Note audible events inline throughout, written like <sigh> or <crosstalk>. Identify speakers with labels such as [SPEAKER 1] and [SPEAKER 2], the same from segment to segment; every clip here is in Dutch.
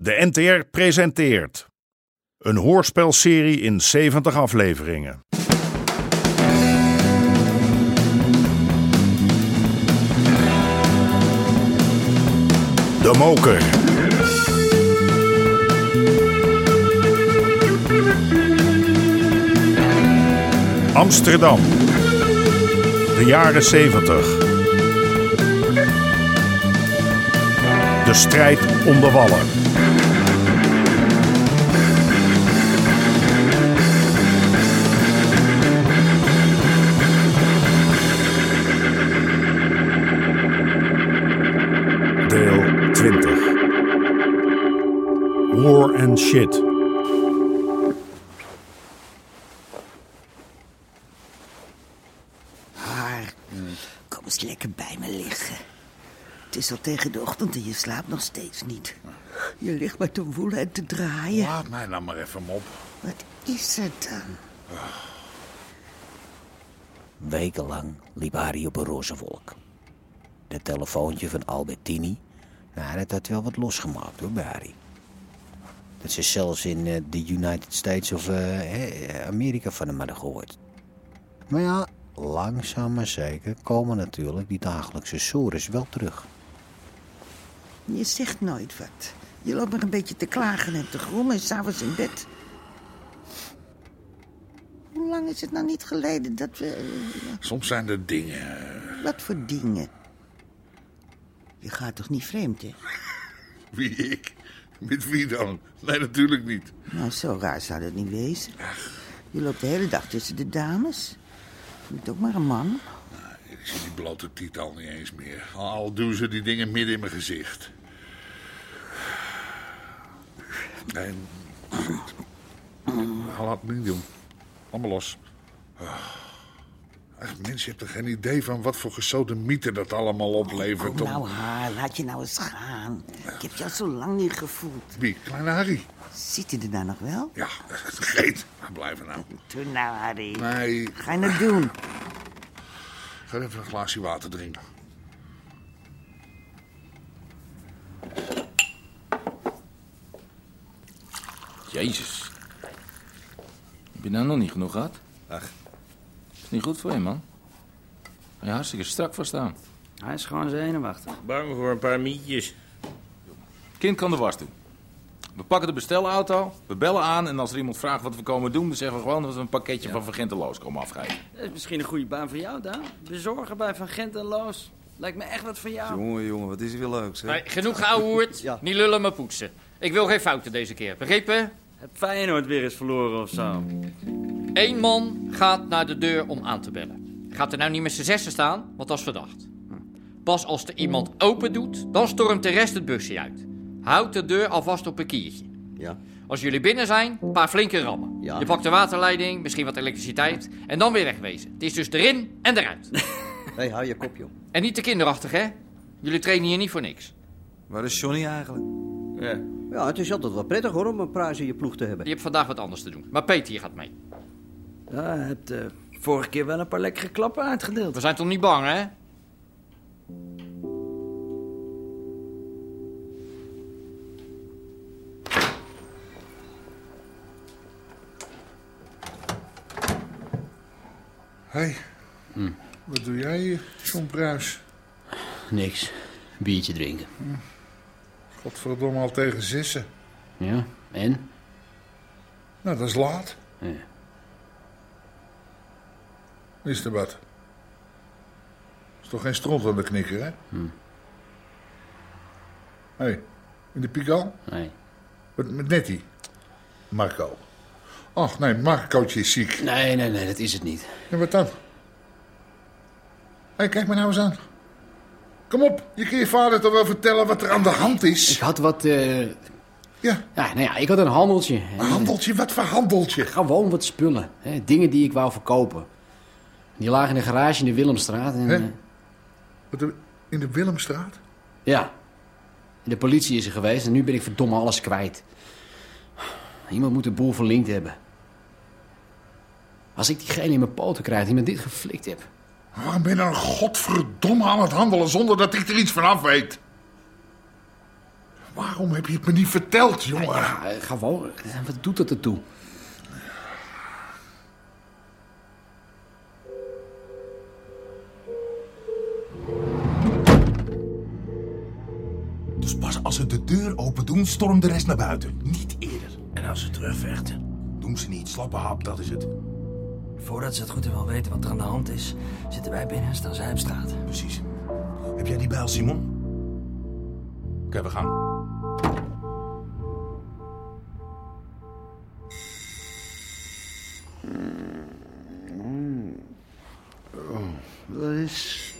[SPEAKER 1] De NTR presenteert een hoorspelserie in 70 afleveringen. De Moker. Amsterdam. De jaren 70. De strijd om de wallen. Deel 20. War and shit.
[SPEAKER 2] Haar, kom eens lekker bij me liggen. Het is al tegen de ochtend en je slaapt nog steeds niet. Je ligt maar te woelen en te draaien.
[SPEAKER 3] Laat mij nou maar even op.
[SPEAKER 2] Wat is er dan?
[SPEAKER 4] Wekenlang liep Harry op een roze wolk. Dat telefoontje van Albertini, nou, dat had wel wat losgemaakt hoor, bij Harry. Dat ze zelfs in eh, de United States of eh, hè, Amerika van hem hadden gehoord. Maar ja, langzaam maar zeker komen natuurlijk die dagelijkse sores wel terug.
[SPEAKER 2] Je zegt nooit wat. Je loopt maar een beetje te klagen en te grommen en s'avonds in bed. Hoe lang is het nou niet geleden dat we... eh,
[SPEAKER 3] Soms zijn er dingen.
[SPEAKER 2] Wat voor dingen? Je gaat toch niet vreemd, hè?
[SPEAKER 3] Wie ik? Met wie dan? Nee, natuurlijk niet.
[SPEAKER 2] Nou, zo raar zou dat niet wezen. Je loopt de hele dag tussen de dames. Je bent ook maar een man.
[SPEAKER 3] Ik zie die blote tiet al niet eens meer. Al doen ze die dingen midden in mijn gezicht. Nee, laat me niet doen. Laat me los. Echt, mensen, je hebt er geen idee van wat voor gesodemieter dat allemaal oplevert.
[SPEAKER 2] Kom
[SPEAKER 3] om-
[SPEAKER 2] nou, haar, laat je nou eens gaan. Ik heb jou zo lang niet gevoeld.
[SPEAKER 3] Wie? Kleine Harry?
[SPEAKER 2] Ziet hij er nou nog wel?
[SPEAKER 3] Ja, <laughs> geet. Blijf er nou.
[SPEAKER 2] Doe nou, Harry.
[SPEAKER 3] Nee,
[SPEAKER 2] Ga je het doen?
[SPEAKER 3] ga even een glaasje water drinken.
[SPEAKER 5] Jezus. Heb je nou nog niet genoeg gehad?
[SPEAKER 6] Ach,
[SPEAKER 5] Is niet goed voor je, man. Ga je hartstikke strak voor staan.
[SPEAKER 7] Hij is gewoon zenuwachtig.
[SPEAKER 6] bang voor een paar mietjes.
[SPEAKER 5] Kind kan de was doen. We pakken de bestelauto, we bellen aan en als er iemand vraagt wat we komen doen, dan zeggen we gewoon dat we een pakketje van Van Gent en Loos komen afgeven.
[SPEAKER 7] Dat is misschien een goede baan voor jou, Daan. Bezorgen bij Van Gent en Loos. Lijkt me echt wat voor jou.
[SPEAKER 6] Jongen, jongen, wat is er weer leuk, zeg.
[SPEAKER 8] Nee, genoeg geouwehoerd. Niet lullen, maar poetsen. Ik wil geen fouten deze keer, begrepen?
[SPEAKER 7] Heb Feyenoord weer eens verloren of zo?
[SPEAKER 8] Eén man gaat naar de deur om aan te bellen. Gaat er nou niet met z'n zessen staan, want dat is verdacht. Pas als er iemand open doet, dan stormt de rest het busje uit. Houd de deur alvast op een kiertje.
[SPEAKER 4] Ja.
[SPEAKER 8] Als jullie binnen zijn, een paar flinke rammen.
[SPEAKER 4] Ja.
[SPEAKER 8] Je pakt de waterleiding, misschien wat elektriciteit en dan weer wegwezen. Het is dus erin en eruit.
[SPEAKER 4] Hé, <laughs> hey, hou je kopje op.
[SPEAKER 8] en niet te kinderachtig, hè? Jullie trainen hier niet voor niks.
[SPEAKER 6] Waar is Johnny eigenlijk?
[SPEAKER 7] Ja.
[SPEAKER 4] Ja, het is altijd wel prettig hoor om een prijs in je ploeg te hebben.
[SPEAKER 8] Je hebt vandaag wat anders te doen. Maar Peter, je gaat mee.
[SPEAKER 7] ja je hebt eh, vorige keer wel een paar lekkere klappen uitgedeeld.
[SPEAKER 8] We zijn toch niet bang, hè?
[SPEAKER 3] Hé, hey, Hm. wat doe jij hier, John Bruis?
[SPEAKER 9] Niks. Biertje drinken.
[SPEAKER 3] Godverdomme al tegen zessen.
[SPEAKER 9] Ja, en?
[SPEAKER 3] Nou, dat is laat.
[SPEAKER 9] Ja.
[SPEAKER 3] Is er wat? Is toch geen stront aan de knikker, hè?
[SPEAKER 9] Hm.
[SPEAKER 3] Hé, hey, in de pikal?
[SPEAKER 9] Nee.
[SPEAKER 3] Met, met Nettie? Marco. Ach nee, Marcootje is ziek.
[SPEAKER 9] Nee, nee, nee, dat is het niet.
[SPEAKER 3] En wat dan? Hé, hey, kijk me nou eens aan. Kom op, je kan je vader toch wel vertellen wat er aan de hand
[SPEAKER 9] Ik
[SPEAKER 3] is?
[SPEAKER 9] had wat, eh,
[SPEAKER 3] Ja,
[SPEAKER 9] ja, nou ja, ik had een handeltje. hè.
[SPEAKER 3] een handeltje, wat voor handeltje?
[SPEAKER 9] Gewoon wat spullen. Hè. Dingen die ik wou verkopen. Die lagen in de garage in de Willemstraat. En,
[SPEAKER 3] Hè?
[SPEAKER 9] eh,
[SPEAKER 3] Wat, er- in de Willemstraat?
[SPEAKER 9] ja. En De politie is er geweest en nu ben ik verdomme alles kwijt. Iemand moet de boel verlinkt hebben. Als ik diegene in mijn poten krijg die me dit geflikt heeft.
[SPEAKER 3] Waarom ben je nou dan godverdomme aan het handelen zonder dat ik er iets van af weet?
[SPEAKER 10] Waarom heb je het me niet verteld, jongen?
[SPEAKER 11] Ja, gewoon. Wat doet dat ertoe?
[SPEAKER 3] Dus pas als ze de deur open doen, stormt de rest naar buiten. Niet eerder. En als ze terugvechten? Doen ze niet. Slappe hap, dat is het.
[SPEAKER 12] Voordat ze het goed en wel weten wat er aan de hand is, zitten wij binnen en staan zij op straat.
[SPEAKER 3] Precies. Heb jij die bijl, Simon?
[SPEAKER 5] Oké, we gaan.
[SPEAKER 13] Oh, dat is...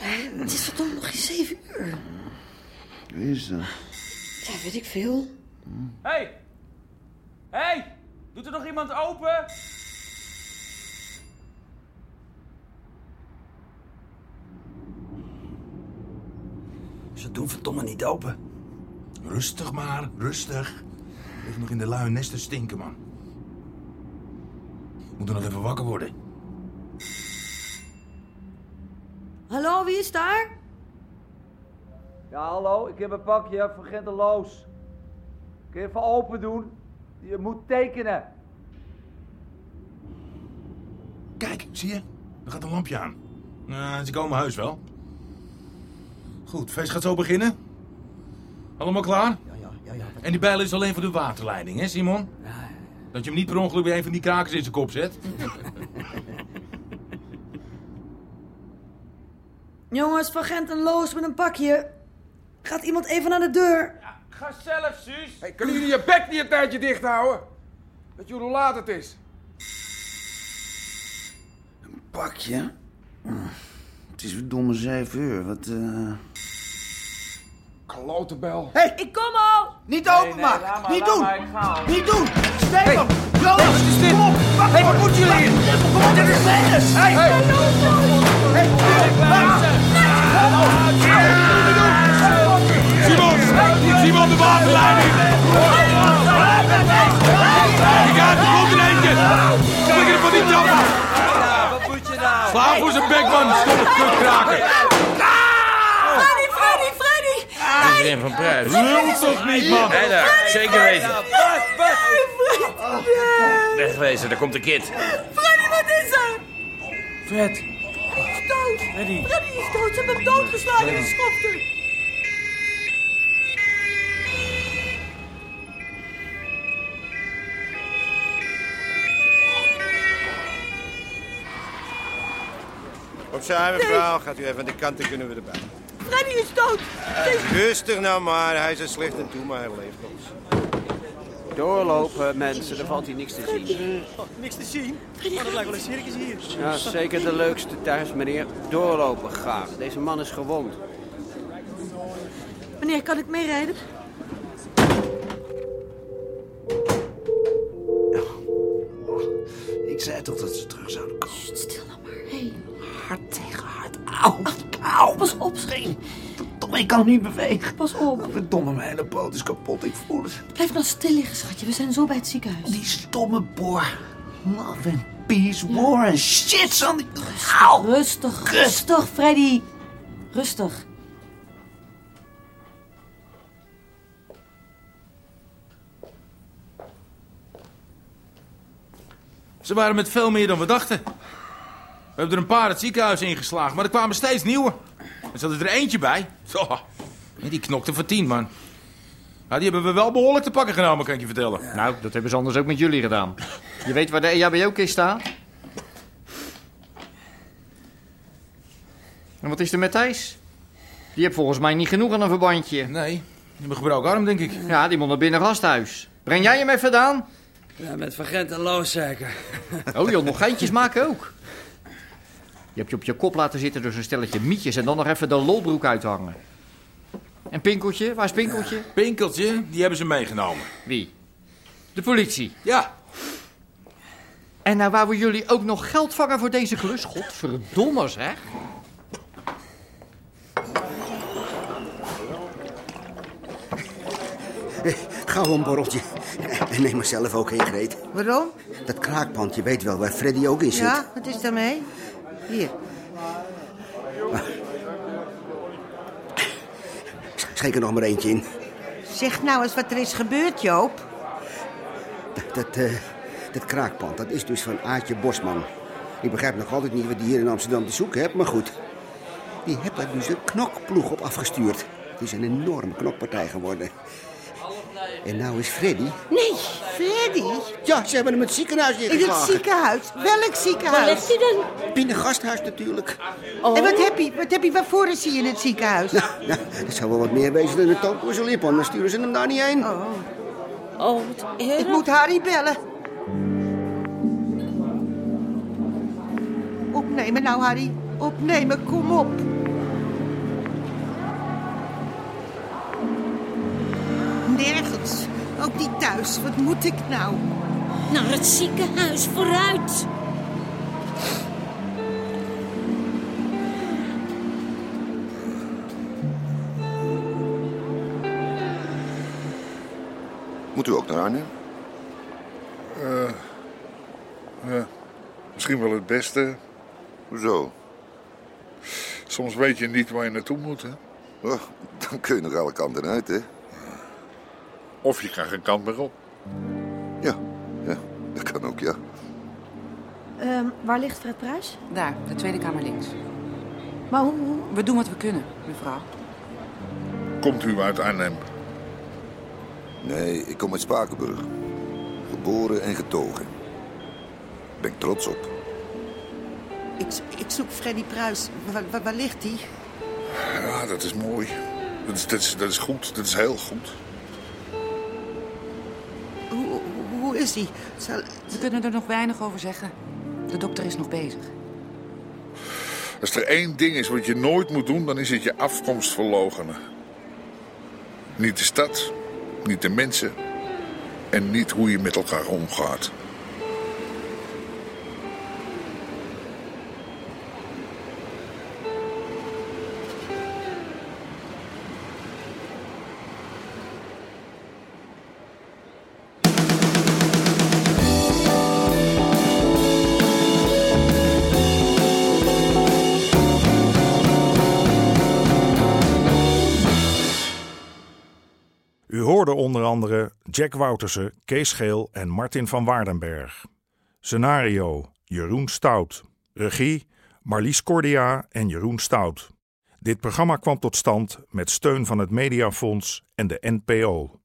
[SPEAKER 2] Het is verdomd nog geen zeven uur.
[SPEAKER 13] Wie is dat?
[SPEAKER 2] Ja, weet ik veel.
[SPEAKER 7] Hé! Hey! Hé! Hey! Doet er nog iemand open?
[SPEAKER 12] Ze doen verdomme niet open.
[SPEAKER 3] Rustig maar, rustig. Ligt nog in de lui nest te stinken, man. Moeten nog even wakker worden.
[SPEAKER 2] Hallo, wie is daar?
[SPEAKER 7] Ja, hallo, ik heb een pakje van Genteloos. Kun je even open doen? Je moet tekenen.
[SPEAKER 3] Kijk, zie je? Er gaat een lampje aan. Nou, ze komen huis wel. Goed, feest gaat zo beginnen. Allemaal klaar? Ja, ja, ja. En die bijl is alleen voor de waterleiding, hè, Simon? Dat je hem niet per ongeluk bij een van die krakers in zijn kop zet.
[SPEAKER 2] Jongens, van Gent en Loos met een pakje. Gaat iemand even naar de deur?
[SPEAKER 14] Ga zelf, Suus. Hey, kunnen jullie je bek niet een tijdje dicht houden? Weet je hoe laat het is?
[SPEAKER 13] Pakje? Het is verdomme zeven uur. Wat, eh...
[SPEAKER 14] Klote bel.
[SPEAKER 13] Hé! Ik kom al! Niet openmaken! Niet doen! Niet doen! Stefan! Jonas! Wat is dit? Kom op! Hé, wat moeten jullie hier? Kom op, dit is vervelend! Hé! Hé! Hé!
[SPEAKER 14] Simon! Simon, de waterleiding! Ik ga het rond in eentje! Slik er van die trap af!
[SPEAKER 5] Sla voor zijn bek, man. Stomme kutkraker.
[SPEAKER 15] Ah!
[SPEAKER 2] Freddy, Freddy, Freddy!
[SPEAKER 15] Ah,
[SPEAKER 5] Dat is van prijs. Lult toch niet, man.
[SPEAKER 15] Nee, daar. Zeker weten.
[SPEAKER 2] Freddy, Freddy!
[SPEAKER 15] Wegwezen, daar komt een kind.
[SPEAKER 2] Freddy, wat is er?
[SPEAKER 15] Fred.
[SPEAKER 2] Freddy is dood!
[SPEAKER 15] Freddy.
[SPEAKER 2] Freddy is dood! Ze hebben hem doodgeslagen in de schofter!
[SPEAKER 16] Opzij, mevrouw. Gaat u even aan de kant, dan kunnen we erbij.
[SPEAKER 2] Freddy is dood!
[SPEAKER 16] Rustig nou maar. Hij is er slecht aan toe, maar hij leeft ons.
[SPEAKER 17] Doorlopen, mensen, er valt hier niks te zien.
[SPEAKER 18] Eh, niks te zien? Maar dat lijkt wel een circus hier.
[SPEAKER 17] Ja, zeker de leukste thuis, meneer. Doorlopen, graag. Deze man is gewond.
[SPEAKER 2] Meneer, kan ik meerijden?
[SPEAKER 13] Ik zei toch dat ze terug zouden komen.
[SPEAKER 2] stil nou maar. Hé,
[SPEAKER 13] Hard tegen hard. Auw! Auw! Pas op, scheen. Verdomme, ik kan niet bewegen.
[SPEAKER 2] Pas op.
[SPEAKER 13] Verdomme, mijn hele poot is kapot. Ik voel het.
[SPEAKER 2] blijf nou stil liggen, schatje. We zijn zo bij het ziekenhuis.
[SPEAKER 13] Die stomme boor. Love and peace, war and shit, Sandy. Auw!
[SPEAKER 2] Rustig, rustig, Freddy. Rustig.
[SPEAKER 5] Ze waren met veel meer dan we dachten. We hebben er een paar het ziekenhuis ingeslagen, maar er kwamen steeds nieuwe. Er zat er eentje bij. Zo. Ja, Die knokte voor tien, man. Ja, die hebben we wel behoorlijk te pakken genomen, kan ik je vertellen.
[SPEAKER 8] Nou, dat hebben ze anders ook met jullie gedaan. Je weet waar de E EHBO-kist staat? En wat is er met Thijs? Die heeft volgens mij niet genoeg aan een verbandje.
[SPEAKER 5] Nee, die hebben gebroken arm, denk ik.
[SPEAKER 8] Ja, die moet naar binnen gasthuis. Breng jij hem even aan?
[SPEAKER 7] Ja, met Van Gent en Loos zeker.
[SPEAKER 8] Oh joh, nog geintjes maken ook. Je hebt je op je kop laten zitten door zo'n stelletje mietjes en dan nog even de lolbroek uithangen. En Pinkeltje, waar is Pinkeltje?
[SPEAKER 5] Pinkeltje, die hebben ze meegenomen.
[SPEAKER 8] Wie? De politie.
[SPEAKER 5] Ja.
[SPEAKER 8] En nou wouden jullie ook nog geld vangen voor deze klus? Godverdomme zeg.
[SPEAKER 19] Gauw een borreltje. En neem mezelf ook heen, Greet.
[SPEAKER 13] Waarom?
[SPEAKER 19] Dat kraakpand, je weet wel waar Freddy ook in zit.
[SPEAKER 13] Ja, wat is daarmee? Hier.
[SPEAKER 19] Schijnt
[SPEAKER 17] ik er nog maar eentje in.
[SPEAKER 2] Zeg nou eens wat er is gebeurd, Joop.
[SPEAKER 17] Dat, dat, eh, dat kraakpand, dat is dus van Aartje Bosman. Ik begrijp nog altijd niet wat die hier in Amsterdam te zoeken hebt, maar goed. Die hebt daar dus een knokploeg op afgestuurd. Het is een enorme knokpartij geworden. En nou is Freddy...
[SPEAKER 2] Nee, Freddy.
[SPEAKER 17] Ja, ze hebben hem het ziekenhuis
[SPEAKER 2] In het
[SPEAKER 17] ingeslagen.
[SPEAKER 2] ziekenhuis. Welk ziekenhuis?
[SPEAKER 17] Waar ligt hij
[SPEAKER 2] dan?
[SPEAKER 17] Binnen gasthuis natuurlijk.
[SPEAKER 2] En
[SPEAKER 20] Oh.
[SPEAKER 2] wat heb je? Wat heb je? Waarvoor is hij in het ziekenhuis?
[SPEAKER 17] Nou, dat zou wel wat meer wezen dan een tand voor zijn lip, anders sturen ze hem daar niet heen.
[SPEAKER 2] Oh. Oh, Ik moet Harry bellen. Opnemen nou, Harry. Opnemen, kom op. Nergens. Ook niet thuis. Wat moet ik nou? Naar het ziekenhuis, vooruit.
[SPEAKER 21] Moet u ook naar Arnhem?
[SPEAKER 3] Eh, ja, misschien wel het beste.
[SPEAKER 21] Hoezo?
[SPEAKER 3] Soms weet je niet waar je naartoe moet, hè?
[SPEAKER 21] Oh, dan kun je nog alle kanten uit, hè?
[SPEAKER 3] Of je krijgt een kant meer op.
[SPEAKER 21] Ja, ja, dat kan ook, ja.
[SPEAKER 20] Ehm, waar ligt Fred Pruis?
[SPEAKER 22] Daar, de Tweede Kamer links.
[SPEAKER 20] Maar hoe, hoe-
[SPEAKER 22] We doen wat we kunnen, mevrouw.
[SPEAKER 3] Komt u uit Arnhem?
[SPEAKER 21] Nee, ik kom uit Spakenburg. Geboren en getogen. Ben ik trots op.
[SPEAKER 2] Ik, zo- ik zoek Freddy Pruis. Waar, waar, waar ligt hij?
[SPEAKER 3] Ja, dat is mooi. Dat is, dat, is, dat is goed, dat is heel goed.
[SPEAKER 2] Hoe, hoe- hoe is hij?
[SPEAKER 22] We kunnen er nog weinig over zeggen. De dokter is nog bezig.
[SPEAKER 3] Als er één ding is wat je nooit moet doen, dan is het je afkomst verloochenen. Niet de stad, niet de mensen en niet hoe je met elkaar omgaat.
[SPEAKER 1] U hoorde onder andere Jack Woutersen, Kees Geel en Martin van Waardenberg. Scenario: Jeroen Stout. Regie: Marlies Cordia en Jeroen Stout. Dit programma kwam tot stand met steun van het Mediafonds en de NPO.